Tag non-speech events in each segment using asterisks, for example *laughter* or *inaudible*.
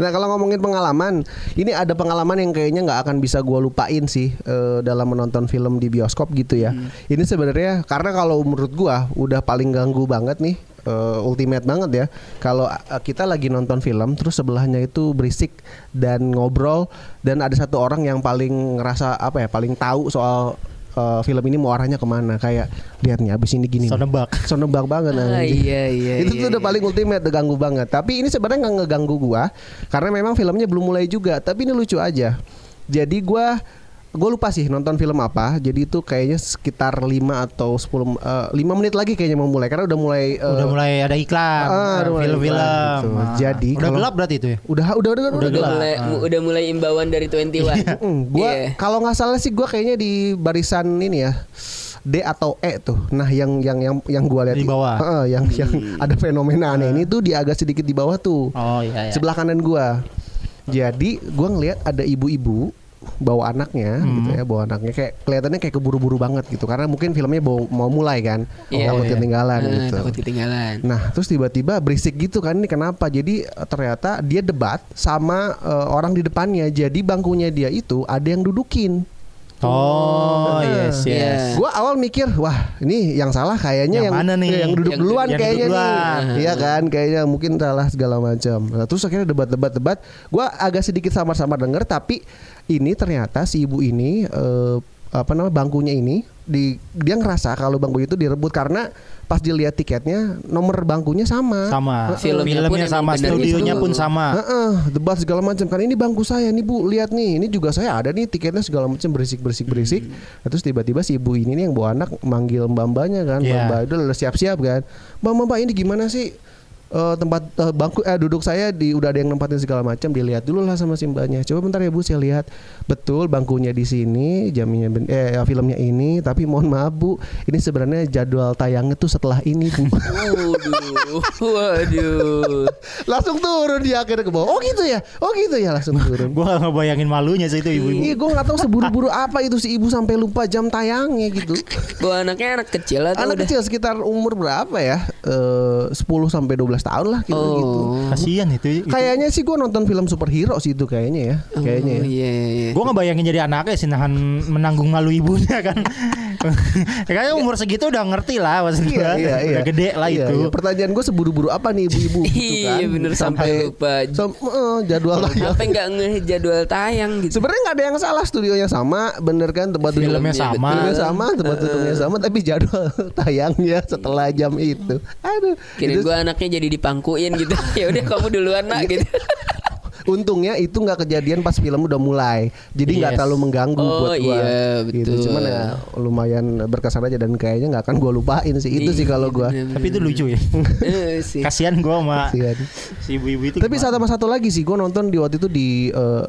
Nah kalau ngomongin pengalaman, ini ada pengalaman yang kayaknya nggak akan bisa gua lupain sih eh, dalam menonton film di bioskop gitu ya. Hmm. Ini sebenarnya karena kalau menurut gua udah paling ganggu banget nih, eh, ultimate banget ya. Kalau eh, kita lagi nonton film, terus sebelahnya itu berisik dan ngobrol dan ada satu orang yang paling ngerasa apa ya, paling tahu soal eh, film ini mau arahnya kemana kayak lihat nih abis ini gini nih. So nebak. so nebak *laughs* banget nah, Ah, anjing. iya, iya, itu tuh iya, udah iya. paling ultimate udah ganggu banget tapi ini sebenarnya nggak ngeganggu gua karena memang filmnya belum mulai juga tapi ini lucu aja jadi gua gue lupa sih nonton film apa jadi itu kayaknya sekitar 5 atau 10 eh, 5 menit lagi kayaknya mau mulai karena udah mulai eh, Udah mulai ada Ah, iklan eh, udah mulai Film-film iklan gitu. Ah. Jadi Udah kalau- gelap berarti itu ya udah udah udah udah, udah udah. mulai udah mulai imbauan dari 21. Mm, gua Iya. kalau nggak salah sih gua kayaknya di barisan ini ya D atau E tuh. Nah, yang yang yang yang gua lihat Di bawah. Heeh, yang yang Hmm. ada fenomena aneh ini tuh di agak sedikit di bawah tuh. Oh iya iya. sebelah kanan gua. Jadi gua ngelihat ada ibu-ibu bawa anaknya gitu Hmm. ya, bawa anaknya kayak kelihatannya kayak keburu-buru banget gitu karena mungkin filmnya mau, mau mulai kan, Iya, takut iya. ketinggalan Ah, gitu. Takut ketinggalan. Nah, terus tiba-tiba berisik gitu kan ini kenapa? Jadi eh, ternyata dia debat sama eh, orang di depannya. Jadi bangkunya dia itu ada yang dudukin. Oh, yes, iya. Iya. yes. Gua awal mikir, wah ini yang salah kayaknya yang, Yang mana nih? yang duduk Yang- duluan yang kayaknya duduk duluan. nih. Iya kan, kayaknya mungkin salah segala macam. Nah, terus akhirnya debat-debat-debat, gua agak sedikit samar-samar denger tapi ini ternyata si ibu ini eh, apa namanya bangkunya ini di dia ngerasa kalau bangku itu direbut karena pas dilihat tiketnya nomor bangkunya sama. Sama. Filmnya pun Filmnya emang sama, bener studionya gitu. pun sama. Heeh, debat segala macam kan ini bangku saya nih Bu, lihat nih, ini juga saya ada nih tiketnya segala macam berisik-berisik berisik. Nah, Terus tiba-tiba si ibu ini nih yang bawa anak manggil mbambanya kan, Iya. mbak itu udah siap-siap kan. Mbak, mbak, mbak, ini gimana sih? Eh, tempat eh, bangku eh, duduk saya di udah ada yang nempatin segala macam dilihat dulu lah sama si mbaknya coba bentar ya bu saya lihat betul bangkunya di sini jamnya ben- eh filmnya ini tapi mohon maaf bu ini sebenarnya jadwal tayangnya tuh setelah ini bu Waduh, waduh. langsung turun dia akhirnya ke bawah oh gitu ya oh gitu ya langsung turun Gua nggak bayangin malunya sih itu ibu-ibu. Iya, gue nggak tahu seburu-buru apa itu si ibu sampai lupa jam tayangnya *laughs* gitu. Gua anaknya anak kecil atau Anak udah? kecil sekitar umur berapa ya? Eh 10 sampai 12 tahun lah gitu. gitu. Oh, Kasihan itu. itu. Kayaknya sih gue nonton film superhero sih itu kayaknya ya. Kayaknya oh, ya. iya, iya, iya. Gue ngebayangin jadi anaknya sih nahan menanggung malu ibunya *laughs* kan. Kayaknya umur segitu udah ngerti lah maksud Iya, gua. iya, iya. Udah gede lah Iya, itu. iya. Pertanyaan gue seburu-buru apa nih ibu-ibu gitu kan? Iya, bener, sampai lupa. sam- eh, jadwal tayang. Apa nggak ngeh jadwal tayang gitu? Sebenarnya nggak ada yang salah studionya sama, bener kan tempat duduk- Filmnya sama. Filmnya sama, tempat Eh. duduknya sama, tapi jadwal *laughs* tayangnya setelah jam itu. Aduh, Kirain itu Iya. gue anaknya jadi dipangkuin gitu. *laughs* ya udah kamu duluan nak gitu. Untungnya itu nggak kejadian pas film udah mulai, jadi nggak Yes. terlalu mengganggu Oh, buat gua. iya, Gitu. betul. Cuman ya lumayan berkesan aja dan kayaknya nggak akan gua lupain sih itu Iya, sih kalau gua. Tapi itu lucu *laughs* ya. Iya, Eh, sih. Kasihan gue sama Kasihan. si ibu-ibu itu. Tapi gimana? sama satu lagi sih gua nonton di waktu itu di eh,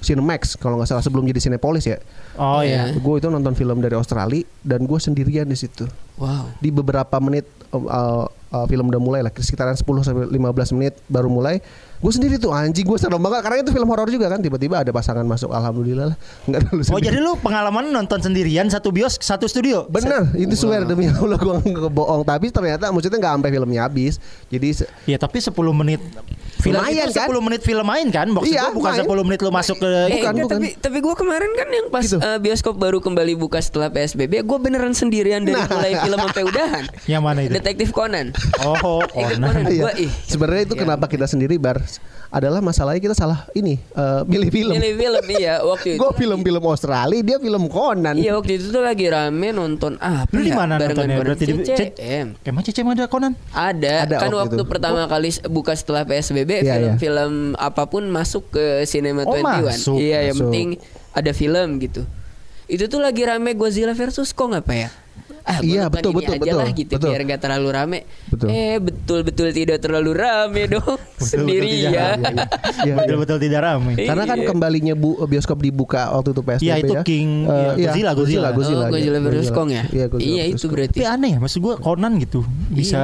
Cinemax kalau nggak salah sebelum jadi Cinepolis ya. Oh ya. Iya. Gue itu nonton film dari Australia dan gua sendirian di situ. Wow. Di beberapa menit eh, eh, eh, film udah mulai lah sekitaran 10 sampai 15 menit baru mulai. Gue sendiri tuh anjing gue serem banget karena itu film horor juga kan tiba-tiba ada pasangan masuk alhamdulillah lah nggak terlalu Oh sendiri. jadi lu pengalaman nonton sendirian satu bios satu studio. Bener, itu swear demi Allah gue kebohong. Tapi ternyata maksudnya nggak sampai filmnya habis. Jadi se- Ya tapi 10 menit Lumayan, itu 10 menit film main kan? Maksud Iya, gua bukan main. 10 menit lu masuk ke Eh, Bukan, enggak, bukan. Tapi, tapi gue kemarin kan yang pas Gitu. eh, bioskop baru kembali buka setelah PSBB, gue beneran sendirian Nah. dari mulai film sampai udahan. Yang mana itu? Detektif Conan. Oh, Ikut Conan. Conan. *laughs* Nah, Iya. Gua, ih, Sebenarnya itu kenapa kita sendiri bar adalah masalahnya kita salah ini eh, milih film. Milih film iya waktu itu. Gue film-film Australia, dia film Conan. Iya waktu itu tuh lagi rame nonton ah, apa Lu di ya? Iya, mana Barengan- nontonnya? bareng Berarti di CCM. Emang CCM ada Conan? Ada, Ada kan waktu waktu itu. Oh. pertama kali s- buka setelah PSBB Iya, iya. film-film apapun masuk ke Cinema Oh, 21. masuk, iya, yang masuk. penting ada film gitu. Itu tuh lagi rame Godzilla versus Kong apa ya? Ah, gua Iya, nonton betul, ini betul, aja betul, lah gitu betul. biar nggak terlalu rame. Betul. Eh, betul-betul tidak terlalu rame dong sendiri tidak ya. ramai. Iya, Betul-betul tidak ramai. Iya. Karena kan kembalinya bu, bioskop dibuka waktu itu PSBB Iya, itu ya. King, Eh, iya, iya, Godzilla, Godzilla. Oh, Godzilla iya, versus Godzilla. Kong ya? Iya, Godzilla Iya, versus itu Kong. berarti. Tapi aneh ya, maksud gua Conan gitu bisa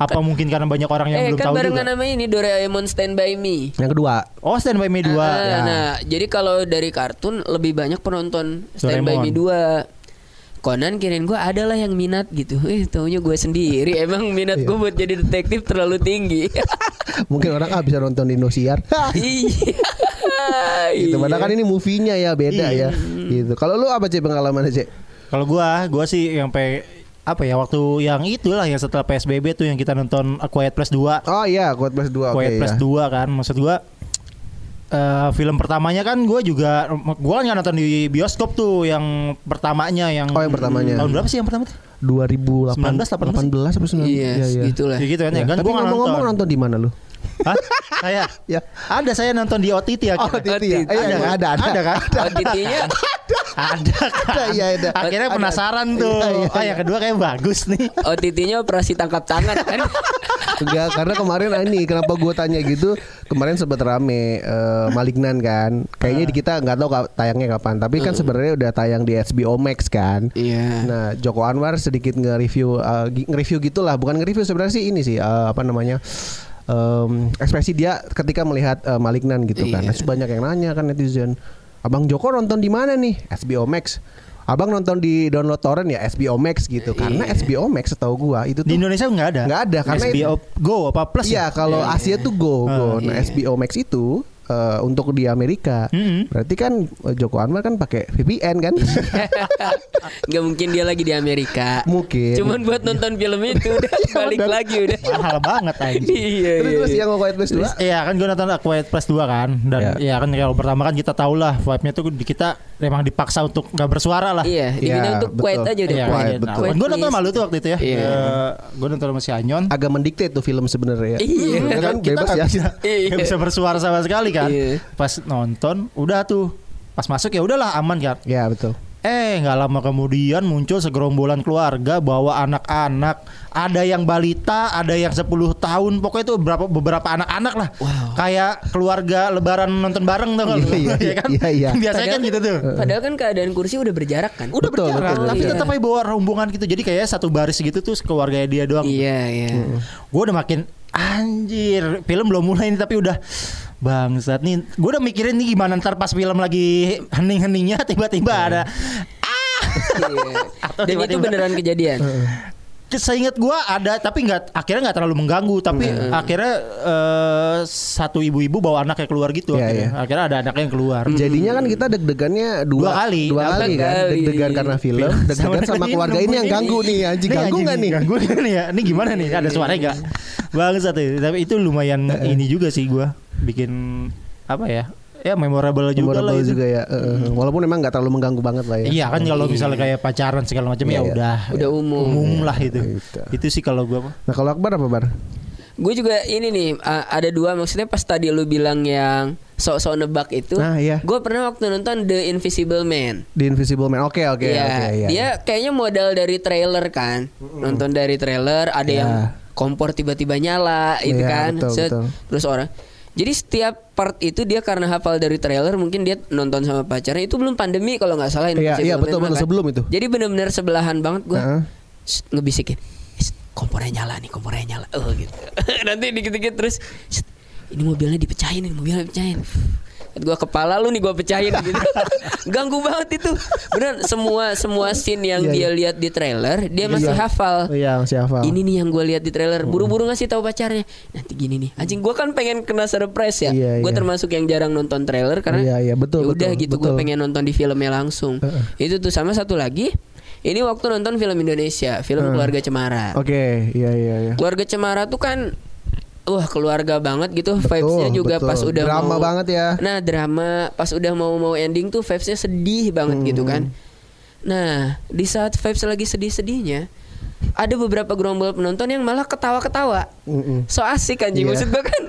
apa mungkin karena banyak orang yang Iya. Kan- Eh, belum kan tahu barengan juga. nama ini Doraemon Stand By Me. Yang kedua, Oh, Stand By Me 2. Ah, Ya. Nah, jadi kalau dari kartun lebih banyak penonton Stand By Doraemon. Me 2. Conan kirain gue adalah yang minat gitu. *laughs* Eh, taunya gue sendiri. Emang minat gue buat jadi detektif terlalu tinggi. mungkin orang ah bisa nonton di *laughs* Indosiar. iya. Hmm. gitu. Padahal kan ini movie-nya ya beda ya. Gitu. Kalau lu apa sih pengalaman aja? Kalau gua, gua sih yang pe apa ya waktu yang itulah yang setelah PSBB tuh yang kita nonton A Quiet Place 2. Oh iya, Quiet Place 2. oke Quiet Place ya. 2 kan maksud gua eh, film pertamanya kan gue juga gue nggak nonton di bioskop tuh yang pertamanya yang Oh, yang pertamanya. tahun berapa sih yang pertama tuh? 2018 18 19, apa 19 Iya, gitulah. Ya gitu kan ya, kan Iya. Tapi gua nggak ngomong-ngomong nonton. di mana lu? Hah? saya Ya. ada saya nonton di OTT ya. akhirnya. Ada, Iya, iya, ada, ada, Ada kan? OTT-nya ada kan? Ada, iya, ada. Akhirnya Ada. penasaran tuh. Iya, iya, Ah, yang kedua kayak bagus nih. OTT-nya operasi tangkap tangan kan. Enggak, karena kemarin ah, ini kenapa gue tanya gitu? Kemarin sempat rame eh, Malignan kan. Kayaknya di kita nggak tahu ka- tayangnya kapan, tapi kan sebenarnya udah tayang di HBO Max kan. Iya. Nah, Joko Anwar sedikit nge-review eh, gi- nge-review gitulah, bukan nge-review sebenarnya sih ini sih eh, apa namanya? em, ekspresi dia ketika melihat eh, Malignan gitu kan. Terus banyak yang nanya kan netizen. Abang Joko nonton di mana nih? HBO Max. Abang nonton di download torrent ya HBO Max gitu. Karena HBO Max setahu gua itu Di tuh Indonesia nggak ada. Nggak ada, karena HBO Go apa Plus Iya, ya? kalau Asia tuh go, go. Nah, iya. HBO Max itu eh, eh, untuk di Amerika. Mm-mm. Berarti kan eh, Joko Anwar kan pakai VPN kan? Gak mungkin dia lagi di Amerika. Mungkin. Cuman buat nonton film itu udah balik Dan- lagi udah. mahal banget anjing. iya, terus, iya, terus iya. yang Quiet Place 2 Iya kan gue nonton A Quiet Place 2 kan Iya. Dan ya kan kalau pertama kan kita tau lah Vibe-nya tuh kita memang dipaksa untuk gak bersuara lah Iya, dibilang Iya, tuh quiet betul. aja udah Iya, Quiet, iya, betul. nah, Gue nonton malu tuh waktu itu ya Iya. Gue nonton sama si Anyon agak mendikte tuh film sebenarnya. Iya. Sebenarnya kan kita bebas nggak ya. bisa, Iya. nggak bisa bersuara sama sekali kan Iya. pas nonton udah tuh pas masuk ya udahlah aman kan Ya betul. eh nggak lama kemudian muncul segerombolan keluarga bawa anak-anak ada yang balita ada yang 10 tahun pokoknya itu berapa beberapa anak-anak lah kayak keluarga lebaran nonton bareng tuh Iya, *laughs* iya, kan iya, iya. biasanya kan gitu tuh Padahal kan keadaan kursi udah berjarak kan? udah Betul, berjarak betul, tapi betul. tetap aja bawa rombongan gitu jadi kayak satu baris gitu tuh keluarganya dia doang Iya, iya. gue udah makin anjir film belum mulai nih tapi udah bangsat nih gue udah mikirin nih gimana ntar pas film lagi hening-heningnya *laughs* tiba-tiba ada Iya. Atau Dan itu tiba-tiba- beneran kejadian. seingat gue ada tapi nggak akhirnya nggak terlalu mengganggu tapi Iya, akhirnya eh, satu ibu-ibu bawa anaknya keluar gitu Iya, akhirnya. akhirnya ada anaknya yang keluar Jadinya kan kita deg-degannya dua, Hmm. Dua kali. dua Dua kali kan, kali. deg-degan karena film, deg-degan sama keluarga ini yang ganggu nih, anjing ganggu nggak nih? ya, Iya, Ganggu nggak nih ya? Ini gimana nih? Ada suaranya nggak? Bangsat ya. Tapi itu lumayan ini juga sih gua bikin apa ya? Ya memorable juga Memorable lah itu. juga ya, eh, walaupun memang nggak terlalu mengganggu banget lah ya. Iya kan kalau misalnya kayak pacaran segala macam Iya, ya iya. udah Udah umum. lah itu. Gitu. Itu sih kalau gua mah. Nah kalau Akbar apa bar? Gue juga ini nih a- ada dua maksudnya pas tadi lu bilang yang sok-sok nebak itu. Nah, iya. Gue pernah waktu nonton The Invisible Man. Di Invisible Man. Oke oke Iya, oke. iya. dia kayaknya modal dari trailer kan. Nonton dari trailer ada Iya. yang kompor tiba-tiba nyala itu Iya, kan. betul, Set. betul. Terus orang. Jadi setiap part itu dia karena hafal dari trailer mungkin dia nonton sama pacarnya itu belum pandemi kalau nggak salah Iya, Invisible iya, Man betul, mah betul, kan. sebelum itu. Jadi benar-benar sebelahan banget gue Heeh. ngebisikin "Shh, kompornya nyala nih kompornya nyala oh gitu *laughs* nanti dikit-dikit terus "Shh, ini mobilnya dipecahin ini mobilnya dipecahin gue kepala lu nih gue *laughs* pecahin gitu. ganggu banget itu benar semua semua scene yang Iya, dia iya. lihat di trailer dia masih Iya. hafal Iya masih hafal. ini nih yang gue lihat di Hmm. trailer buru-buru ngasih tahu pacarnya nanti gini nih anjing gue kan pengen kena surprise ya Iya, gue iya. termasuk yang jarang nonton trailer karena Iya, iya, ya betul, udah betul, gitu gue betul. pengen nonton di filmnya langsung Heeh. itu tuh sama satu lagi ini waktu nonton film Indonesia film keluarga Cemara Oke iya iya iya. keluarga Cemara tuh kan Wah keluarga banget gitu Vibesnya juga betul. pas udah mau Drama banget ya. Nah drama Pas udah mau-mau ending tuh Vibesnya sedih Hmm. banget gitu kan Nah di saat vibes lagi sedih-sedihnya Ada beberapa gerombol penonton yang malah ketawa-ketawa Mm-mm. So asik anjing Iya. Maksud gua *laughs* kan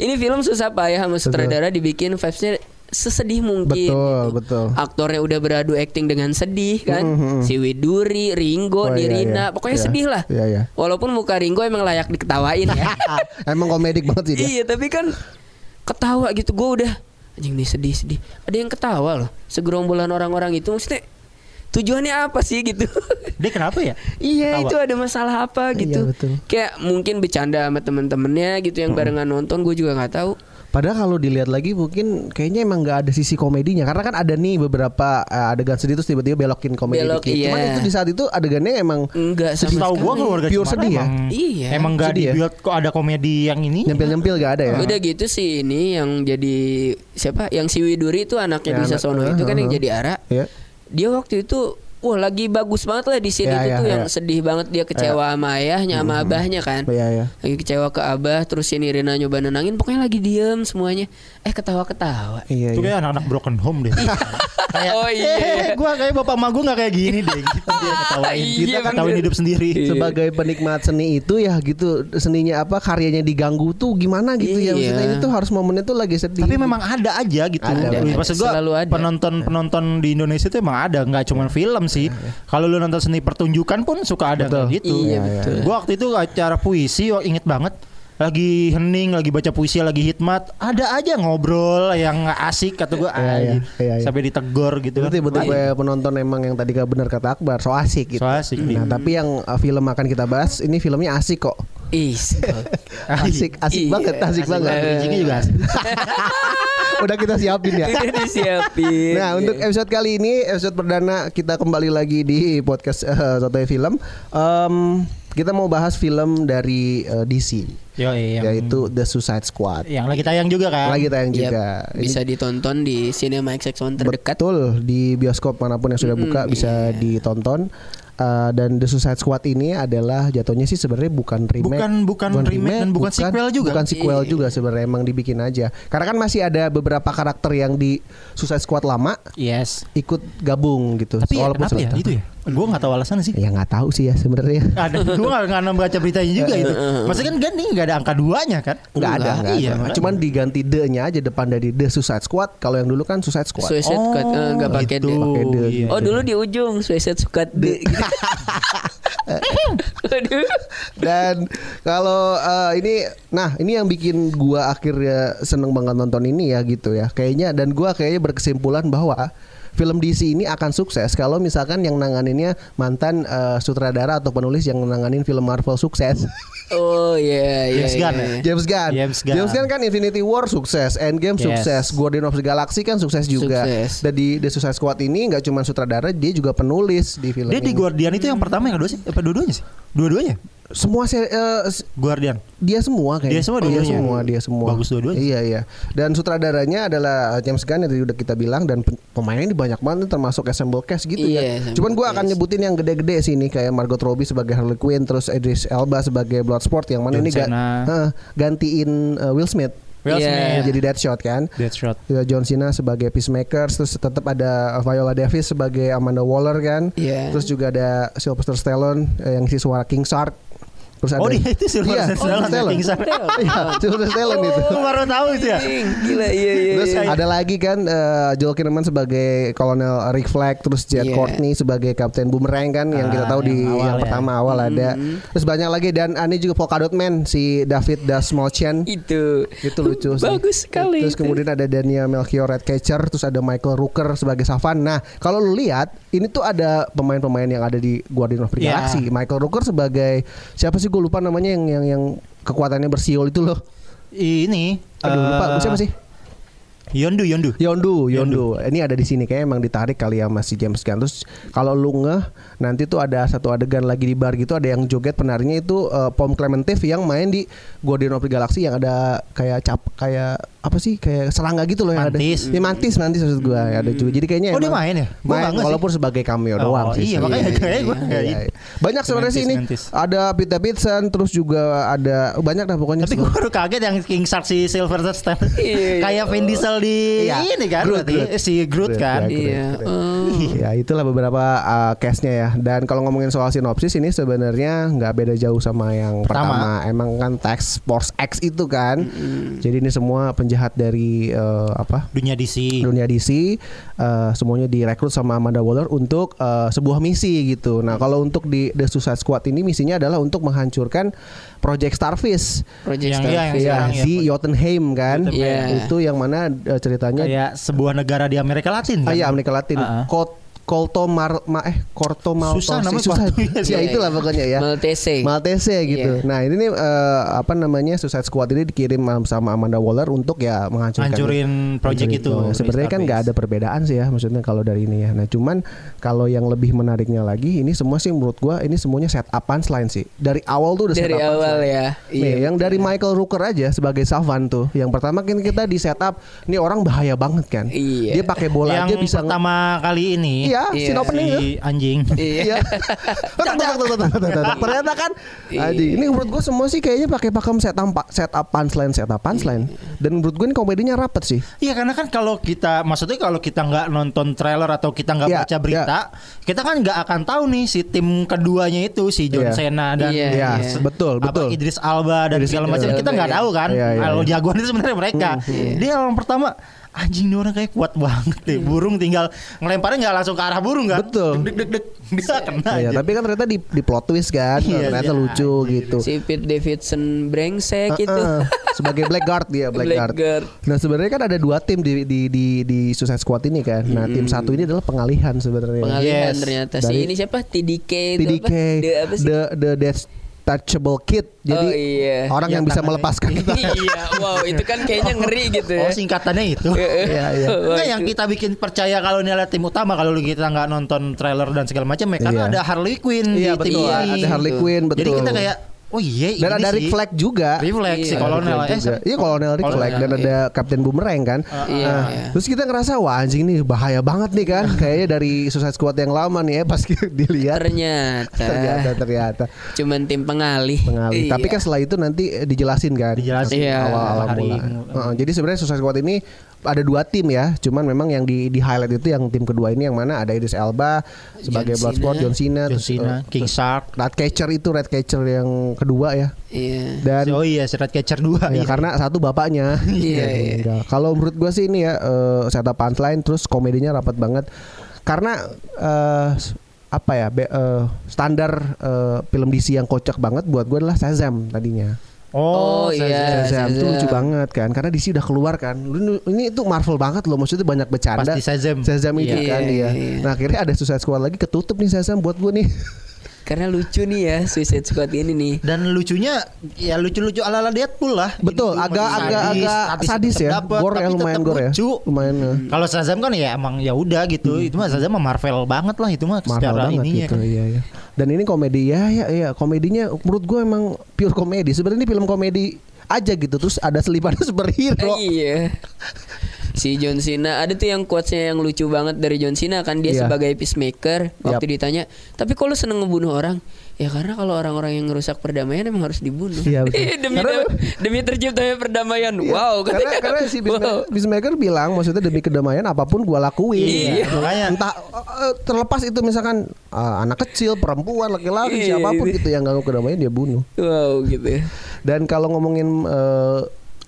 Ini film susah payah sama sutradara Dibikin vibesnya sesedih mungkin Betul, gitu. betul. Aktornya udah beradu acting dengan sedih kan Mhm. Si Widuri, Ringo, Oh, iya, Nirina iya. Pokoknya Iya. sedih lah Iya, iya. Walaupun muka Ringo emang layak diketawain *laughs* ya. Emang komedik banget sih dia. iya, tapi kan ketawa gitu gue udah anjing nih sedih sedih. Ada yang ketawa loh. Segerombolan orang-orang itu maksudnya tujuannya apa sih gitu? *laughs* Dia kenapa ya? Iya Ketawa. itu ada masalah apa gitu? Iya, betul. Hmm. Kayak mungkin bercanda sama temen-temennya gitu yang barengan nonton gue juga nggak tahu. Padahal kalau dilihat lagi mungkin kayaknya emang nggak ada sisi komedinya karena kan ada nih beberapa eh, adegan sedih terus tiba-tiba belokin komedi. Belok, dikit. Cuman iya. Mm. itu di saat itu adegannya emang Enggak sama Tahu gua sekali. keluarga Iya, Pure Cemara sedih ya? emang, Iya. Emang gak Sedih ya? dibuat kok ada komedi yang ini? nyempil-nyempil gak ada ya. Udah gitu sih ini yang jadi siapa? Yang si Widuri itu anaknya Ya, di anak- Sasono itu kan yang Heeh. jadi Ara. Iya. Dia waktu itu wah lagi bagus banget lah di sini Ya, itu ya, tuh ya. yang sedih banget dia kecewa sama ayahnya sama abahnya kan. Iya, iya. Lagi kecewa ke abah terus si Nirina nyoba nenangin pokoknya lagi diem semuanya. Eh ketawa-ketawa. Iya, Itu iya. kayak anak-anak broken home *laughs* deh. kayak, Oh, iya. "Eh, gua kayak bapak emak gua gak kayak gini deh. Gitu *laughs* dia ketawain. Iya, Kita ketawain bener. hidup sendiri. Sebagai penikmat seni itu ya gitu seninya apa karyanya diganggu tuh gimana gitu Iya. ya maksudnya ini tuh harus momennya tuh lagi sedih. Tapi memang ada aja gitu. Ada, Maksud ada. gua Selalu ada. penonton-penonton di Indonesia itu emang ada, nggak cuma film sih. Iya, Kalau lu nonton seni pertunjukan pun suka ada kayak gitu. Iya, betul. Gua waktu itu acara puisi wah, inget banget lagi hening, lagi baca puisi, lagi hikmat, ada aja ngobrol yang nggak asik kata gua Iya, iya, anjir. iya, iya. sampai ditegor gitu. Itu kan. tiba-tiba Wah, Iya. ya penonton emang yang tadi benar kata Akbar so asik gitu. So asik, Nah, *laughs* iya. tapi yang eh, film akan kita bahas ini filmnya asik kok. Is. *laughs* Asik, Iya, asik banget, Eh, asik, Ah, Iya, asik banget. Iya, banget. Bridgingnya juga asik. udah kita siapin *laughs* ya. Udah iya. disiapin. Iya. Nah untuk episode kali ini episode perdana kita kembali lagi di podcast eh, Sotoy Film. Em, kita mau bahas film dari eh, DC, Yo, yang, yaitu The Suicide Squad. yang lagi tayang juga Ya, kan? Lagi tayang Yap, juga. Ini Iya, bisa ditonton di Cinema XX1 terdekat. Iya. Betul di bioskop manapun yang sudah buka bisa ditonton. Eh, dan The Suicide Squad ini adalah jatuhnya sih sebenarnya bukan remake, Bukan- bukan remake dan bukan sequel juga. bukan sequel Iya. juga sebenarnya emang dibikin aja. Karena kan masih ada beberapa karakter yang di Suicide Squad lama Yes. ikut gabung gitu. Tapi ya, kenapa ya sebentar. gitu ya? Gue nggak tahu alasannya sih. Ya nggak tahu sih ya sebenarnya. Ada, gue nggak nggak baca beritanya juga itu. Maksudnya kan Gandhi nggak ada angka duanya kan? Nggak ada, nggak Iya. ada. makanya. Cuman diganti the-nya aja depan dari The Suicide Squad. Kalau yang dulu kan Suicide Squad. Suicide Squad eh, Oh, nggak pakai D. gitu. Pakai D. Iya. Oh dulu di ujung Suicide Squad *laughs* D. gitu. Aduh. Dan kalau eh, ini nah ini yang bikin gua akhirnya seneng banget nonton ini ya gitu ya. Kayaknya dan gua kayaknya berkesimpulan bahwa film DC ini akan sukses kalau misalkan yang nanganinnya mantan eh, sutradara atau penulis yang nanganin film Marvel sukses. Oh iya iya. James Gunn iya, ya? iya. *laughs* James Gunn. James Gunn. kan Infinity War sukses, Endgame Yes. sukses, Guardian of the Galaxy kan sukses juga. Sukses. Dan di The Suicide Squad ini nggak cuma sutradara, dia juga penulis di film Dia ini. di Guardian itu yang pertama yang kedua sih? Apa dua-duanya sih? Dua-duanya? Semua se- eh, s- Guardian. dia semua kayaknya. Dia semua dia dua-duanya. semua, dia semua. Bagus dua-duanya. Iya, iya. Dan sutradaranya adalah eh, James Gunn yang tadi udah kita bilang dan pe- pemainnya di banyak banget termasuk Assemble Cast gitu Iya, ya. Assemble Cuman gua akan Cast. nyebutin yang gede-gede sih ini kayak Margot Robbie sebagai Harley Quinn, terus Idris Elba sebagai Bloodsport yang mana John ini ga- Cena. Heeh, gantiin eh, Will Smith. Will Iya. Smith. Jadi Deadshot kan. Deadshot. Ya, John Cena sebagai Peacemakers terus tetap ada Viola Davis sebagai Amanda Waller kan Iya. terus juga ada Sylvester Stallone eh, yang isi suara King Shark terus ada Oh dia itu Sylvester Iya, Stallone, King Shark. Iya, Sylvester Stallone itu Lu baru tahu itu ya? Gila iya Oh, iya. Terus iya. ada lagi kan eh, Joel Kinnaman sebagai Kolonel Rick Flag, terus Jed Iya. Courtney sebagai Kapten Boomerang kan yang kita Ah, tahu di yang awal yang ya. pertama awal ada. Terus banyak lagi dan aneh juga Polkadot Man si David Dasmalchian itu. itu lucu sih. Bagus sekali. Terus itu. kemudian ada Daniel Melchior Redcatcher, terus ada Michael Rooker sebagai Savan. Nah, kalau lu lihat, ini tuh ada pemain-pemain yang ada di Guardian of the Iya. Galaxy. Michael Rooker sebagai siapa sih gue lupa namanya yang yang yang kekuatannya bersiul itu loh. Ini. Aduh, lupa eh, siapa sih? Yondu, Yondu. Yondu, Yondu. Ini ada di sini kayaknya emang ditarik kali ya masih James Gunn. Terus kalau lu ngeh nanti tuh ada satu adegan lagi di bar gitu ada yang joget penarinya itu eh, Pom Clementif yang main di Guardian of the Galaxy yang ada kayak cap kayak apa sih kayak serangga gitu loh yang Mantis. ada. Ya, mantis, mantis maksud gua ada juga. Jadi kayaknya Oh, dia emang main ya? Gua nggak ngeh sih. walaupun sebagai cameo doang Oh, sih. Iya makanya kayaknya gue Iya, iya. Banyak sebenarnya sih ini. Sementis. Ada Pita Pitsen terus juga ada banyak dah pokoknya. Tapi gue baru kaget yang King Shark si Silver Stone Iya. Kayak Vin Diesel di Iya. ini kan Groot, berarti Groot. Si Groot kan Groot, Iya. Keren. Oh. Ya itulah beberapa uh, case-nya ya. Dan kalau ngomongin soal sinopsis ini sebenarnya nggak beda jauh sama yang pertama. Pertama. Emang kan Tax Force X itu kan. Jadi ini semua penjahat dari uh, apa? Dunia DC dunia DC uh, semuanya direkrut sama Amanda Waller untuk uh, sebuah misi gitu. Nah, kalau untuk di The Suicide Squad ini misinya adalah untuk menghancurkan Project Starfish. Project Yang- Star. iya, yang Iya. sekarang ya. si Jotunheim kan. Jotunheim. Itu yang mana uh, ceritanya Kayak sebuah negara di Amerika Latin Ah kan? iya Amerika Latin. Ah, ah. Kot Kolto Mar Ma- eh Korto Maltese. Susah namanya Iya, susah. *laughs* sepatunya. ya itulah pokoknya ya. Maltese. Maltese Iya. gitu. Nah, ini nih eh, apa namanya Suicide Squad ini dikirim sama Amanda Waller untuk ya menghancurkan Hancurin project Hancurin itu, itu. Sebenarnya kan Starface. nggak ada perbedaan sih ya maksudnya kalau dari ini ya. Nah, cuman kalau yang lebih menariknya lagi ini semua sih menurut gua ini semuanya set upan selain sih. Dari awal tuh udah Dari set awal ya. Nih, yang dari Michael Rooker aja sebagai Savan tuh. Yang pertama kan kita di setup, ini orang bahaya banget kan. Iya. Dia pakai bola Yang aja bisa nge- pertama kali ini Iya, Iya. scene opening tuh. Si anjing Iya. *laughs* Iya. Tuk, tuk, tuk, tuk, tuk, tuk, *laughs* tuk. Ternyata kan Iya. anjing. Ini menurut gue semua sih kayaknya pakai pakem set up set up punchline, set up punchline. Dan menurut gue ini komedinya rapet sih. Iya karena kan kalau kita Maksudnya kalau kita nggak nonton trailer Atau kita nggak Iya, baca berita Kita kan nggak akan tahu nih Si tim keduanya itu Si John Iya. Cena dan Iya, Iya, iya. betul, apa, betul. Idris Alba dan Idris segala Elba, macam kita iya. nggak tahu kan Iya, iya, kalau iya. jagoan itu sebenarnya *laughs* mereka dia orang pertama anjing nih orang kayak kuat banget deh Iya. burung tinggal ngelemparnya nggak langsung ke arah burung kan Betul. deg deg deg bisa kena Iya, aja. tapi kan ternyata di, di plot twist kan, Iya, ternyata iya. lucu gitu. Si Pete Davidson brengsek itu. Heeh, sebagai blackguard dia blackguard. Blackguard. Nah sebenarnya kan ada dua tim di di di di Suicide Squad ini kan. Nah tim satu ini adalah pengalihan sebenarnya. Pengalihan Yes. ternyata si Dari- ini siapa? TDK itu apa? TDK, The apa sih? the the Death untouchable kid. Jadi Oh, iya. orang yang, bisa Yang *laughs* tangannya. melepaskan tangan. iya, wow itu kan kayaknya ngeri gitu ya. Oh singkatannya itu. Iya, *laughs* iya. Enggak Wah, yang itu- kita bikin percaya kalau ini adalah tim utama kalau kita nggak nonton trailer dan segala macam ya karena Iya. ada Harley Quinn Iya di betul. tim ini. Ada Harley Quinn betul. Jadi kita kayak oh iya ini dan ada sih. Rick Flag juga. Refleks si Iya. kolonel Rick Flag eh, juga. Iya kolonel Rick Flag dan ada Kapten Boomerang kan. iya, Nah, iya. Terus kita ngerasa wah anjing nih bahaya banget nih *laughs* kan. Kayaknya dari Suicide Squad yang lama nih ya pas *laughs* kita dilihat Ternyata, ternyata ternyata cuman tim pengalih. pengalih. Iya. Tapi kan setelah itu nanti eh, dijelasin kan. Dijelasin. Iya. awal-awal Hari- mula. Heeh, jadi sebenarnya Suicide Squad ini ada dua tim ya. Cuman memang yang di di highlight itu yang tim kedua ini yang mana ada Idris Elba sebagai John Bloodsport, Cena. John Cena, John terus, Cena, eh, King Shark. Red Catcher itu Red Catcher yang kedua ya. Iya. Dan oh iya, Red Catcher 2. Ya, Iya. karena satu bapaknya. *laughs* Iya, Jadi iya. enggak. Kalau menurut gua sih ini ya eh, setup punchline terus komedinya rapat banget. Karena eh, s- apa ya be- eh, standar eh, film DC yang kocak banget buat gua adalah Shazam tadinya. Oh, iya. Shazam itu Shazam. lucu banget kan karena DC udah keluar kan. Lu- Ini itu Marvel banget loh maksudnya banyak bercanda. Pasti Shazam. itu Iya, kan iya, iya. iya. Nah akhirnya ada Suicide Squad lagi ketutup nih Shazam buat gua nih. Karena lucu nih ya Suicide Squad ini nih. Dan lucunya ya lucu-lucu ala-ala Deadpool lah. Betul, Jadi agak lumayan agak agak sadis tetap ya. dapet, Gore ya tapi lumayan tetap gore ya. lucu. Lumayan. ya. Kalau Shazam kan ya emang ya udah gitu. Itu mah Shazam mah Marvel banget lah itu mah Hmm. Marvel secara banget ininya gitu kan. iya ya. Dan ini komedi ya ya ya komedinya menurut gue emang pure komedi. Sebenarnya ini film komedi aja gitu terus ada selipan *laughs* Eh, superhero. iya. Si John Cena ada tuh yang quotesnya yang lucu banget dari John Cena kan dia Iya. sebagai peacemaker waktu ditanya tapi kalau seneng ngebunuh orang ya karena kalau orang-orang yang ngerusak perdamaian emang harus dibunuh *laughs* Iya, betul. Eh, demi Karena- Iya, demi terciptanya perdamaian wow karena, katanya. karena si *laughs* Wow. Bismaker, bilang maksudnya demi kedamaian apapun gue lakuin. Iya, makanya. Entah eh, eh, terlepas itu misalkan eh, anak kecil, perempuan, laki-laki, Iya, siapapun iya. gitu yang ganggu kedamaian dia bunuh. wow gitu ya. Dan kalau ngomongin eh,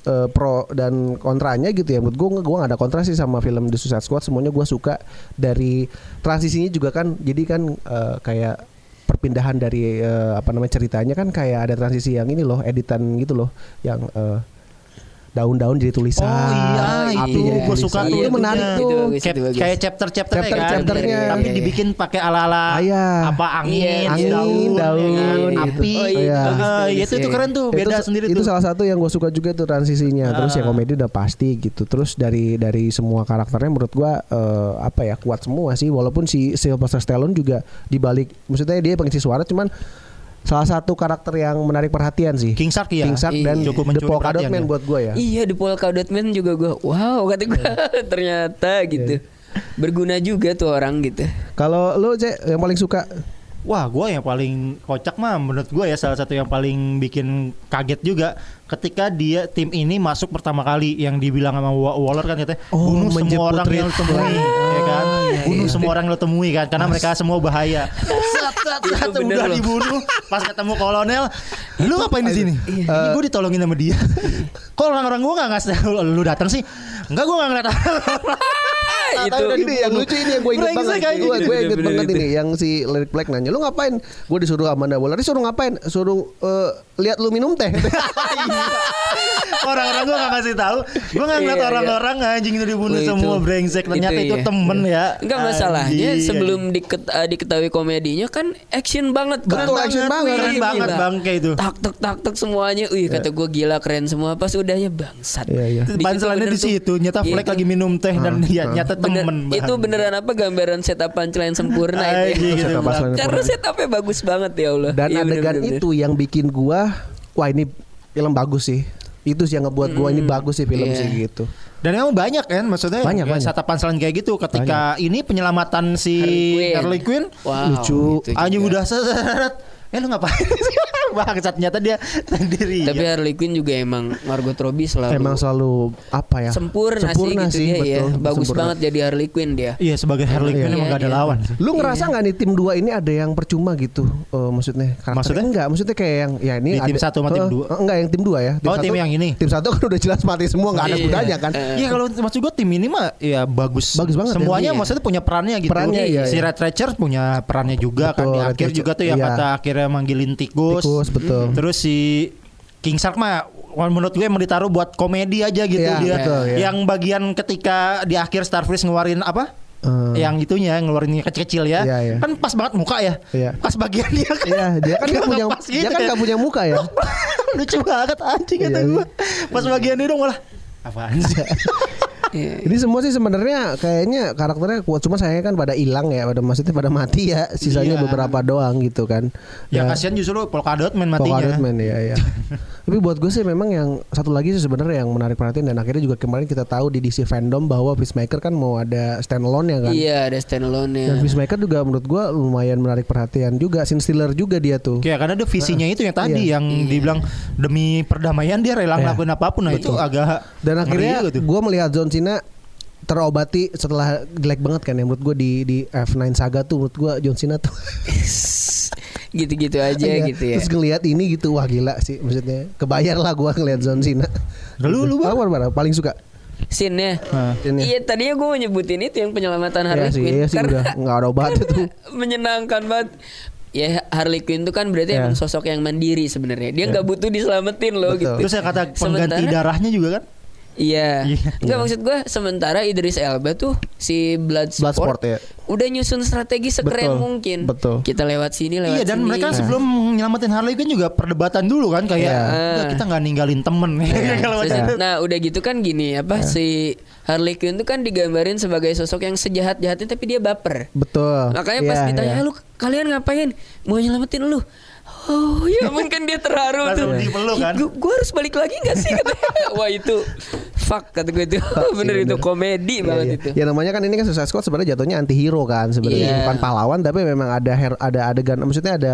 eh, pro dan kontranya gitu ya, menurut gue gue gak ada kontra sih sama film The Suicide Squad. Semuanya gue suka dari transisinya juga kan, jadi kan eh, kayak perpindahan dari eh, apa namanya ceritanya kan kayak ada transisi yang ini loh, editan gitu loh, yang eh, daun-daun jadi tulisan, Oh iya, api itu jadi gue tulisan. suka Itu tuh. menarik Iya, tuh. bagus, Cap- itu bagus. kayak chapter-chapter kan. Chapter-chapternya. Tapi gitu, Iya, iya. dibikin pakai ala-ala Iya. apa angin, Angin, daun, daun, ya kan, gitu. api. Oh, iya. Heeh, Bagus, iya, itu itu bagus, keren tuh, beda itu, sendiri itu tuh. Ah. salah satu yang gue suka juga tuh transisinya terus ya komedi udah pasti gitu terus dari dari semua karakternya menurut gue eh, apa ya kuat semua sih walaupun si Sylvester Stallone juga dibalik maksudnya dia pengisi suara cuman salah satu karakter yang menarik perhatian sih King Shark ya. King Shark Iya. dan Cukup The mencuri Polka Dot perhatian Man ya. buat gue ya Iya di Polka Dot Man juga gue wow kata gue Iya. *laughs* ternyata gitu berguna juga tuh orang gitu. kalau lo cek yang paling suka Wah, gue yang paling kocak mah menurut gue ya salah satu yang paling bikin kaget juga ketika dia tim ini masuk pertama kali yang dibilang sama Wa- Waller kan katanya Oh, bunuh semua menjemput orang yang lo Red temui, ya kan? bunuh iya. semua orang yang lo temui kan karena mereka semua bahaya. Set, set, Itu set, bener udah loh. dibunuh. Pas ketemu kolonel, lu ngapain di sini? Ini gue ditolongin sama dia. Kok orang-orang gue nggak ngasih tahu lu datang sih? Enggak gue nggak ngeliat. Ah, Ah, itu ini yang lucu ini yang gue inget Brengsek banget aja. gue gue inget Bener-bener banget itu. ini yang si Larry Black nanya lu ngapain gue disuruh Amanda Waller disuruh ngapain suruh eh, lihat lu minum teh *laughs* orang-orang gue gak kasih tahu gue gak ngeliat Iya, iya. orang-orang anjing itu dibunuh Wah, itu- semua brengsek ternyata itu, iya. temen ya Enggak masalahnya Anjing. sebelum diket- eh, diketahui komedinya kan action banget kan. Betul, action banget. keren Gila. banget bangke itu Iya. Tak tak tak tak semuanya. Wih kata gue gila keren semua. Pas udahnya bangsat. Iya, iya. Di situ panselannya bener di tuh. situ nyata Iya, Fleck itu lagi minum teh dan ya, nyata bener- temen bang. Itu beneran apa gambaran setup punchline sempurna itu. Anjing, ya. gitu, Setup Bang. punchline. Karena setupnya bagus banget ya Allah. Dan Iya, adegan bener-bener. itu yang bikin gua wah ini film bagus sih. Itu sih yang ngebuat gua ini bagus sih film iya. sih gitu. dan emang banyak kan maksudnya Banyak, banyak. satapan panselan kayak gitu ketika ini penyelamatan si Harley Quinn Wow, Lucu. itu juga. anjing udah seret eh lu ngapain *laughs* bangsat nyata dia sendiri Tapi Harley Quinn juga emang Margot Robbie selalu Emang selalu apa ya? sempurna, sih gitu dia ya. Bagus banget jadi Harley Quinn dia. iya sebagai Harley Quinn Iya, emang gak ada iya. lawan Lu ngerasa nggak nih tim 2 ini ada yang percuma gitu? Eh, maksudnya karakter Maksudnya? enggak, maksudnya kayak yang ya ini Di tim ada- satu sama tim Eh, dua? eh, Enggak, yang tim 2 ya. Oh, tim satu- yang ini. Tim satu kan udah jelas mati semua nggak ada Iya. gunanya kan. Iya kalau maksud gue tim ini mah ya bagus. Bagus banget, Semuanya iya. maksudnya punya perannya gitu. Perannya, iya, si iya. Red Ratcher punya perannya juga kan Betul, di Red akhir Ratcher, juga tuh yang iya. kata akhirnya manggilin tikus. Mm-hmm. Tikus, betul. Terus si King Shark mah wah, menurut gue emang ditaruh buat komedi aja gitu Iya, dia. betul, iya. Yang bagian ketika di akhir Starfish ngeluarin apa? Hmm. yang itunya yang ngeluarin kecil-kecil ya. Iya, iya. Kan pas banget muka ya. Iya. Pas bagian dia kan. Iya, dia *laughs* kan nggak punya pas dia gitu kan ya. nggak punya muka ya. *laughs* Lucu banget anjing kata Iya, gua. Pas bagian dia dong malah apaan sih? Jadi semua sih sebenarnya kayaknya karakternya kuat cuma saya kan pada hilang ya, pada maksudnya pada mati ya, *laughs* sisanya Iya. beberapa doang gitu kan. *laughs* ya Dan- kasihan justru Polkadot main Polkadot matinya. Man ya *laughs* ya. Tapi buat gue sih memang yang satu lagi sih sebenarnya yang menarik perhatian dan akhirnya juga kemarin kita tahu di DC fandom bahwa Peacemaker kan mau ada standalone ya kan. Ya, Iya ada standalone nya Dan Peacemaker juga menurut gue lumayan menarik perhatian juga. Sin Stiller juga dia tuh. Ya karena dia visinya itu yang tadi yang dibilang demi perdamaian dia rela Iya. ngelakuin apapun nah itu agak Dan ngeri akhirnya juga tuh. gue melihat John Cena terobati setelah jelek banget kan ya menurut gue di di F9 saga tuh menurut gue John Cena tuh *laughs* *laughs* Gitu-gitu aja Iya. gitu ya terus ngelihat ini gitu wah gila sih maksudnya kebayar lah gue ngelihat John Cena Lu- lu- Apa, apa, apa, paling suka Scene-nya Nah. Scene-nya. Iya tadinya gue mau nyebutin itu yang penyelamatan Iya Harley sih, Quinn iya sih Karena- udah nggak ada obat itu. *laughs* menyenangkan banget Ya Harley Quinn itu kan berarti Iya. emang sosok yang mandiri sebenarnya Dia nggak butuh diselamatin loh Betul. ya gitu Terus saya kata pengganti Sementara- darahnya juga kan? *laughs* Iya. Iya. Enggak maksud gue sementara Idris Elba tuh si Bloodsport, Bloodsport, ya. udah nyusun strategi sekeren Betul, mungkin. betul. Kita lewat sini lewat Iya dan sini. mereka sebelum nyelamatin Harley Quinn juga perdebatan dulu kan kayak Iya. "Enggak, kita nggak ninggalin temen *laughs* kalau Terus, macam itu. Nah udah gitu kan gini apa Iya. si Harley Quinn tuh kan digambarin sebagai sosok yang sejahat jahatnya tapi dia baper. betul Makanya pas Iya, ditanya iya. "Eh, lu kalian ngapain? Mau nyelamatin lu? Oh *laughs* ya ampun kan dia terharu tuh. Langsung dipeluk kan? Gue harus balik lagi gak *laughs* sih katanya. Wah itu fuck kata gue itu. *laughs* bener sih, itu iya, bener. komedi banget Iya, itu. iya. Ya namanya kan ini kan Suicide Squad sebenarnya jatuhnya anti hero kan sebenarnya Iya. bukan pahlawan tapi memang ada her- ada adegan maksudnya ada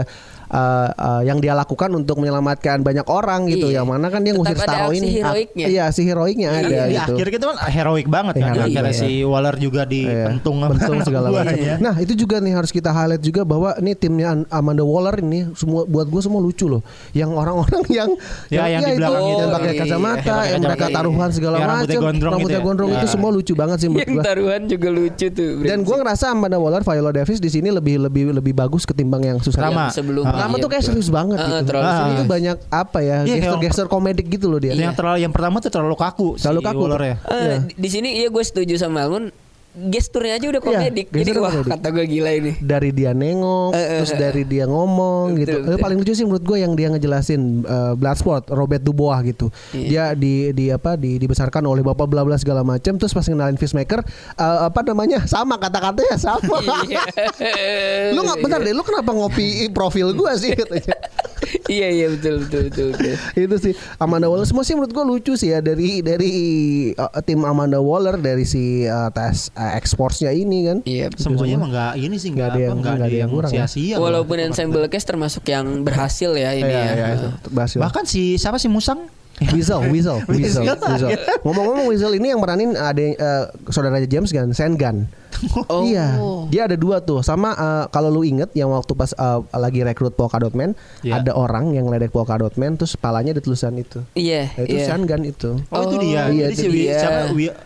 eh, eh, yang dia lakukan untuk menyelamatkan banyak orang gitu Iya. yang mana kan dia Tetap ngusir ada Starro aksi ini. Ah, heroiknya. Iya si heroiknya ada Nah, iya. Di gitu. akhir kita kan heroik banget kan Heroik, akhirnya iya. si Waller juga dipentung Iya, sama bentung *laughs* anak ya. segala buahnya. macam. Nah itu juga nih harus kita highlight juga bahwa ini timnya An- Amanda Waller ini semua buat gue semua lucu loh. Yang orang-orang *laughs* yang Ya, yang ya, di itu, belakang itu. yang pakai Iya, kacamata, pakai yang mereka kacamata. taruhan segala Yang macam, rambutnya gondrong gitu ya. gondrong itu Ya. semua lucu banget sih menurut Yang gue. taruhan juga lucu tuh. Dan gue brengsek. ngerasa Amanda Waller, Viola Davis di sini lebih lebih lebih bagus ketimbang yang susah. Rama. Yang sebelumnya. Rama Iya, tuh kayak betul. serius banget Heeh, gitu. terlalu Di sini serius. tuh banyak apa ya? Ah, Iya, kayak- Iya, Gestur-gestur komedik gitu loh dia. Yang terlalu yang pertama tuh terlalu kaku Terlalu si kaku. Waller ya. Eh, di- Di sini iya gue setuju sama Almun. Gesturnya aja udah Iya, komedik. Jadi gesturnya wah komedik. kata gue gila ini. dari dia nengok, Eh, eh, terus eh, dari dia Betul, ngomong gitu. Eh, betul. Paling lucu sih menurut gue yang dia ngejelasin eh, Bloodsport, Robert Dubois gitu. Iya. Dia di di apa di dibesarkan oleh bapak bla bla segala macam. Terus pas ngenalin Fishmaker, eh, apa namanya sama kata-katanya sama. *laughs* Iya. lu nggak bentar deh, lu kenapa ngopi profil gue *laughs* sih? katanya. Iya iya betul betul betul. betul. itu sih Amanda Waller semua sih menurut gue lucu sih ya dari dari eh, tim Amanda Waller dari si eh, tes eh, exportsnya ini kan. Iya. Semuanya emang nggak ini sih Nggak nggak ada apa yang- nggak ada yang kurang ya. sia-sia. Walaupun Bahkan- ensemble cast termasuk yang berhasil ya ini Iya, ya. iya, itu. Berhasil. bahkan si siapa sih Musang? *laughs* Weasel, Weasel, Weasel, Weasel. Weasel. Ngomong-ngomong Weasel ini yang meranin ada eh, saudaranya James Gunn, Sean Gunn. Oh. Iya, dia ada dua tuh. Sama eh, kalau lu inget yang waktu pas eh, lagi rekrut Polkadot Man, Iya. ada orang yang ngeledek Polkadot Man terus palanya ada tulisan itu. Iya. Nah, itu iya. Sean Gunn itu. Oh, itu dia. iya, Jadi itu si Wi- dia. siapa Wi-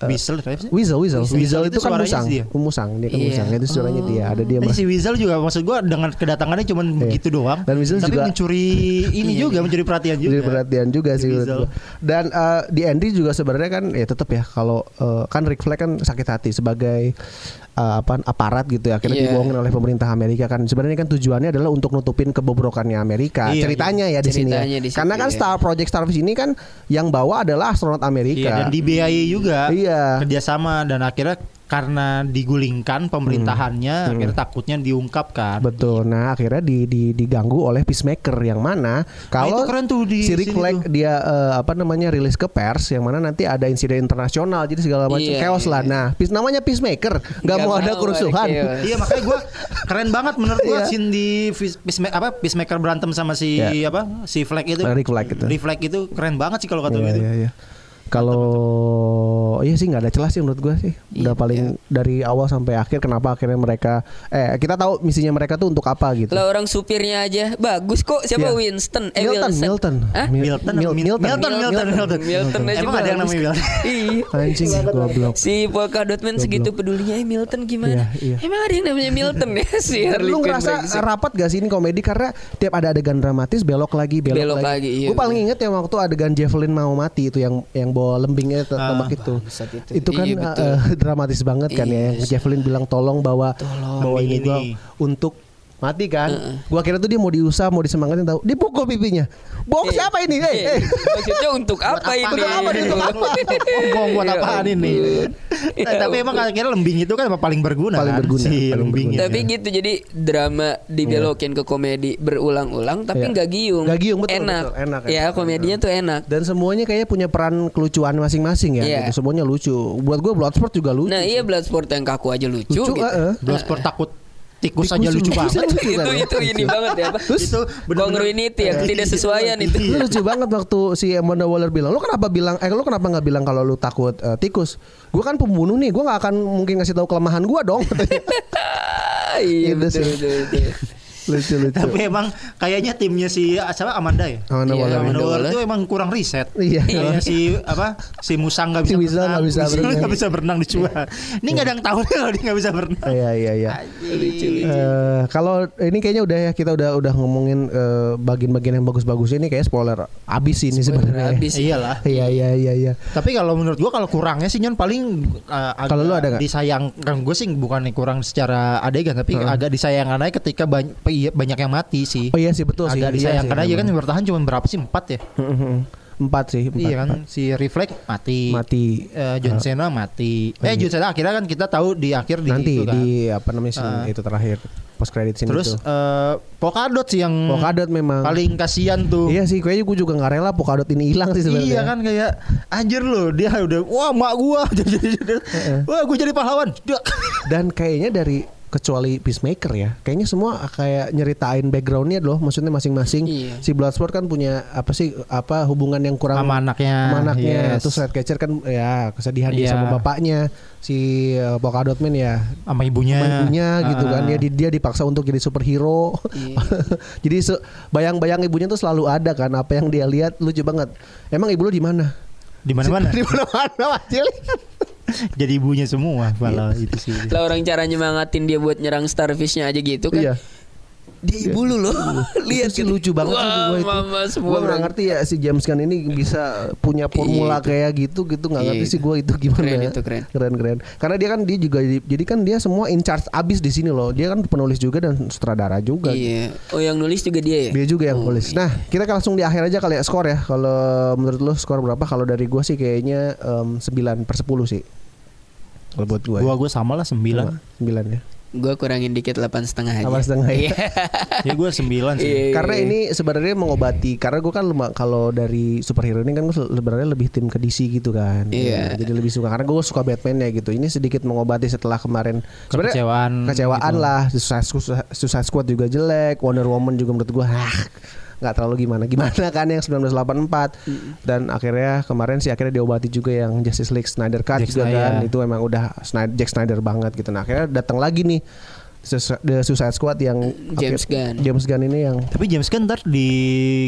Weasel siapa sih? Weasel, Weasel, Weasel, Weasel itu, itu kan suaranya musang, dia. musang, dia kan Iya. musang. Itu suaranya dia, ada dia. Tapi merah. si Weasel juga maksud gua dengan kedatangannya cuman begitu doang. Iya. Dan Weasel Tapi juga- *laughs* mencuri ini juga mencuri perhatian juga. Jadi perhatian juga sih menurut Diesel. gua. Dan eh, di Andy juga sebenarnya kan ya tetap ya kalau eh, kan Rick Flag kan sakit hati sebagai eh, apa aparat gitu ya akhirnya Iya. dibohongin oleh pemerintah Amerika kan sebenarnya kan tujuannya adalah untuk nutupin kebobrokannya Amerika Iya, ceritanya ya di sini ya. Ceritanya di situ, karena kan iya. Star Project Starfish ini kan yang bawa adalah astronot Amerika Iya, dan dibiayai juga. Iya. Kerjasama dan akhirnya karena digulingkan pemerintahannya, akhirnya takutnya diungkapkan. Hmm. Betul. Nah, akhirnya di, di- diganggu oleh peacemaker yang mana kalau itu keren tuh di si Rick sini Flag tuh. dia eh, apa namanya rilis ke pers yang mana nanti ada insiden internasional jadi segala macam Iya, chaos iya, lah. Nah, peace namanya peacemaker nggak Nggak mau mau ada ada kerusuhan. chaos. Iya makanya gua keren banget menurut gua Iya. scene di Fis- Peacema- apa Peacemaker berantem sama si Iya. apa si Flag itu. Rick Flag itu. Rick Flag itu keren banget sih kalau kata Iya, gua itu. iya, iya. Kalau iya sih nggak ada celah sih menurut gua sih. Udah paling dari awal sampai akhir kenapa akhirnya mereka eh kita tahu misinya mereka tuh untuk apa gitu. Lah orang supirnya aja bagus kok. Siapa Iya. Winston? Eh Milton, Wilson. Milton, Hah? Mil- Milton, Mil- Mil- Milton, Milton, Milton. Milton aja Emang ada yang bagus. namanya Milton? *laughs* Iya. Anjing goblok. Si Polka Dotman segitu pedulinya eh, Milton gimana? Iya, iya. Emang ada yang namanya Milton ya *laughs* si Harley lu Quinn ya. ngerasa brengsek. rapat gak sih ini komedi karena tiap ada adegan dramatis belok lagi belok, Belok lagi, iya, gue paling inget yang waktu adegan Javelin mau mati itu yang yang jebol lembingnya te- tembak itu. itu. kan Ah, Iya, betul. Iya, eh, dramatis banget kan ya. Yang Javelin bilang tolong bawa bawa ini Lembing gua ini. untuk mati kan. Gua kira tuh dia mau diusah, mau disemangatin tahu. Dipukul pipinya. Iya. Bohong siapa ini? Eh, eh. Maksudnya untuk apa Iya. ini? Untuk apa nih? Untuk apa *laughs* nih? Ngomong buat apaan ini? Nah, tapi emang akhirnya lembing itu kan emang paling berguna. Paling kan? berguna, Si paling lembingnya. Iya. Tapi gitu jadi drama dibelokin ke komedi berulang-ulang tapi Iya. nggak giung. Nggak giung, betul, enak. betul. Enak, Ya enak, komedinya tuh enak. Dan semuanya kayaknya punya peran kelucuan masing-masing ya. Iya. gitu. Semuanya lucu. Buat gua Bloodsport juga lucu. Nah iya Bloodsport yang kaku aja lucu, gitu. lucu, eh, eh. Bloodsport takut tikus aja lucu banget. lucu itu kan, itu lucu. ini banget ya apa? Terus? Itu bener-bener- Congruinity yang Iya. tidak sesuaian ya, itu. Lu lucu banget waktu si Amanda Waller bilang, "Lu kenapa bilang eh lu kenapa nggak bilang kalau lu takut eh, tikus? Gua kan pembunuh nih, gua nggak akan mungkin ngasih tahu kelemahan gua *laughs* dong." katanya. Ah, iya Itu betul, sih. betul, betul. lucu lucu. Tapi emang kayaknya timnya si siapa Amanda ya? Amanda Iya, Waller. Amanda Amanda Waller Waller. itu emang kurang riset. Iya. Kayaknya si apa? Si Musang nggak Si bisa, Wisal nggak bisa Wisal berenang. *laughs* nggak bisa berenang di Cua. Ini nggak ada yang tahu kalau dia *laughs* nggak bisa berenang. Iya iya iya. Eh, kalau ini kayaknya udah ya kita udah udah ngomongin eh, bagian-bagian yang bagus-bagus ini kayak spoiler abis ini sebenarnya. Habis. Iyalah. Iya iya iya iya. Tapi kalau menurut gua kalau kurangnya sih Nyon paling uh, agak Kalau lu ada nggak? disayangkan gue sih bukan kurang secara adegan tapi agak disayangkan aja ketika bany- iya, banyak yang mati sih. Oh iya sih betul sih. agak Iya disayangkan sih, aja kan memang. yang bertahan cuma berapa sih empat ya? Empat sih. Empat, iya kan empat. si Reflect mati. Mati. Iya. Eh, John Cena mati. Eh John Cena akhirnya kan kita tahu di akhir di Nanti itu kan. di apa namanya scene Ah. itu terakhir post credit scene itu. Terus eh, Polkadot sih yang Polkadot memang. paling kasihan tuh. Iya sih, kayaknya gue juga nggak rela Polkadot ini hilang sih sebenarnya. Gitu. Iya kan kayak anjir loh dia udah wah mak gua *laughs* jadi wah gua jadi pahlawan. Dak. Dan kayaknya dari kecuali Peacemaker ya, kayaknya semua kayak nyeritain backgroundnya loh, maksudnya masing-masing. Iya. Si Bloodsport kan punya apa sih apa hubungan yang kurang Sama anaknya, sama anaknya. yes. Terus Redcatcher kan ya kesedihan dia Iya. sama bapaknya. Si eh, Polkadot Man ya sama ibunya. ibunya gitu kan Ah. dia dia dipaksa untuk jadi superhero Iya. *laughs* jadi se- bayang-bayang ibunya tuh selalu ada kan apa yang dia lihat lucu banget emang ibu lu di mana Di mana-mana. *laughs* di mana-mana wajil *laughs* Jadi ibunya semua kalau Iya. itu sih. Lah orang cara nyemangatin dia buat nyerang starfishnya aja gitu kan. iya Dia ibu lu *laughs* loh. Lihat sih gitu. lucu banget sih Wah, gua itu. mama semua Gua nggak orang- ngerti ya si James Gunn ini bisa punya formula Iya, itu. kayak gitu gitu nggak Iya, ngerti itu. sih gue itu gimana. Keren itu, keren. keren keren. Karena dia kan dia juga jadi kan dia semua in charge abis di sini loh. Dia kan penulis juga dan sutradara juga. Iya. Oh yang nulis juga dia ya? Dia juga yang Oh, nulis. Nah, kita kan langsung di akhir aja kali ya skor ya. Kalau menurut lo skor berapa? Kalau dari gua sih kayaknya em, 9 per 10 sih. Kalau buat gua. Gua ya. gua sama lah Sama, 9. 9 ya. Gua kurangin dikit 8,5 setengah aja. Apa setengah ya? Iya. ya gua 9 sih. Iya. Karena ini sebenarnya mengobati karena gua kan lema- kalau dari superhero ini kan gua se- sebenarnya lebih tim ke DC gitu kan. Iya. Ya, Jadi lebih suka karena gua suka Batman ya gitu. Ini sedikit mengobati setelah kemarin sebenarnya Kekecewaan kecewaan gitu. lah. Susah, susah, susah Squad juga jelek, Wonder Woman juga menurut gua ah, nggak terlalu gimana gimana kan yang 1984 dan akhirnya kemarin sih akhirnya diobati juga yang Justice League Snyder Cut Jack juga kan Snyder. itu emang udah Snyder, Jack Snyder banget gitu nah akhirnya datang lagi nih Sus- The Suicide Squad yang James akhir- Gunn. James Gunn ini yang Tapi James Gunn ntar di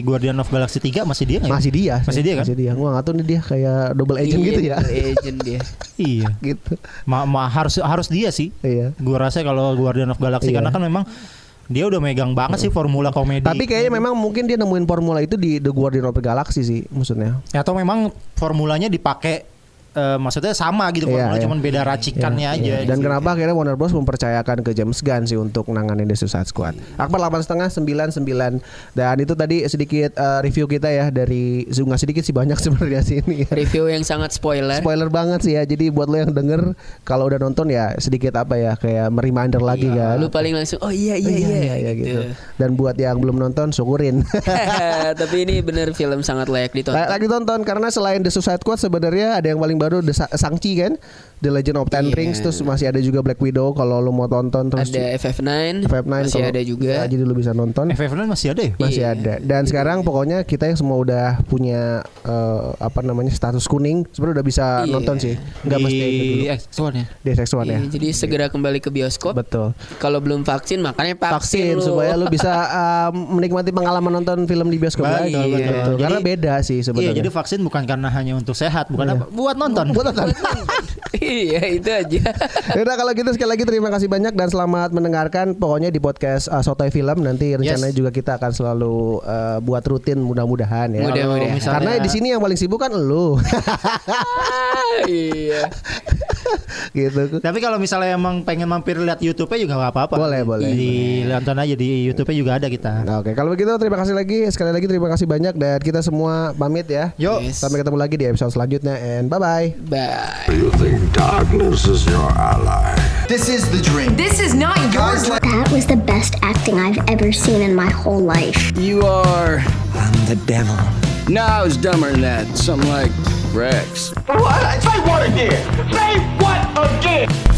Guardian of Galaxy 3 masih dia nggak ya? masih dia sih. Masih dia kan? masih dia gua nggak tahu nih dia kayak double agent Iya, gitu ya *laughs* Agent dia. Iya. gitu Ma, ma- harus harus dia sih. Iya. Gua rasa kalau Guardian of Galaxy Iya. karena kan memang dia udah megang banget sih formula komedi. tapi kayaknya memang mungkin dia nemuin formula itu di The Guardian of the Galaxy sih maksudnya Ya, atau memang formulanya dipakai eh, maksudnya sama gitu Iya, formulanya iya. cuman beda racikannya Iya, aja. iya. Dan kenapa akhirnya Warner Bros mempercayakan ke James Gunn sih untuk nanganin The Suicide Squad. Akbar 8,5 99 dan itu tadi sedikit eh, review kita ya dari nggak sedikit sih banyak *laughs* sebenarnya sih ini. ya. Review yang sangat spoiler. Spoiler banget sih ya. Jadi buat lo yang denger kalau udah nonton ya sedikit apa ya kayak reminder lagi kan. Lu paling langsung oh iya iya iya, gitu. Dan buat yang belum nonton syukurin. *laughs* Tapi ini bener film sangat layak ditonton. La- Lagi tonton karena selain The Suicide Squad sebenarnya ada yang paling baru The Sa- Shang-Chi kan, The Legend of Ten Rings terus masih ada juga Black Widow kalau lo mau tonton terus Iya. Ada FF9, FF9 masih kalau- ada juga. Ya, jadi lu bisa nonton. FF masih ada ya? masih Iya. ada. Dan sekarang pokoknya kita yang semua udah punya eh, apa namanya status kuning, sebenarnya udah bisa Iya. nonton sih. Enggak di mesti itu dulu. X1 ya. di seksual Iya, ya. jadi segera kembali ke bioskop. Betul. Kalau belum vaksin makanya vaksin, Vaksin lu. supaya lu bisa eh, menikmati pengalaman nonton film di bioskop Betul, lagi. betul. Iya, Betul. iya. Jadi- Karena beda sih Iya, sebenarnya. Iya. jadi vaksin bukan karena hanya untuk sehat, bukan apa, buat tonton. Gua *laughs* tonton. *laughs* iya itu aja. *laughs* Yaudah kalau gitu sekali lagi terima kasih banyak dan selamat mendengarkan pokoknya di podcast uh, Sotoy Film nanti rencananya juga kita akan selalu uh, buat rutin mudah-mudahan ya. Kalau Mudah-mudahan. misalnya- Karena di sini yang paling sibuk kan lu. *laughs* iya. gitu. Tapi kalau misalnya emang pengen mampir lihat YouTube-nya juga nggak apa-apa. Boleh, boleh. Di nonton aja di YouTube-nya juga ada kita. Nah, Oke, kalau begitu terima kasih lagi sekali lagi terima kasih banyak dan kita semua pamit ya. Yuk. Yes. Sampai ketemu lagi di episode selanjutnya and bye bye. Bye. Do you think darkness is your ally? This is the dream. This is not your dream. That was the best acting I've ever seen in my whole life. You are. I'm the devil. No, I was dumber than that. Something like Rex. What? Say what again? Say what again?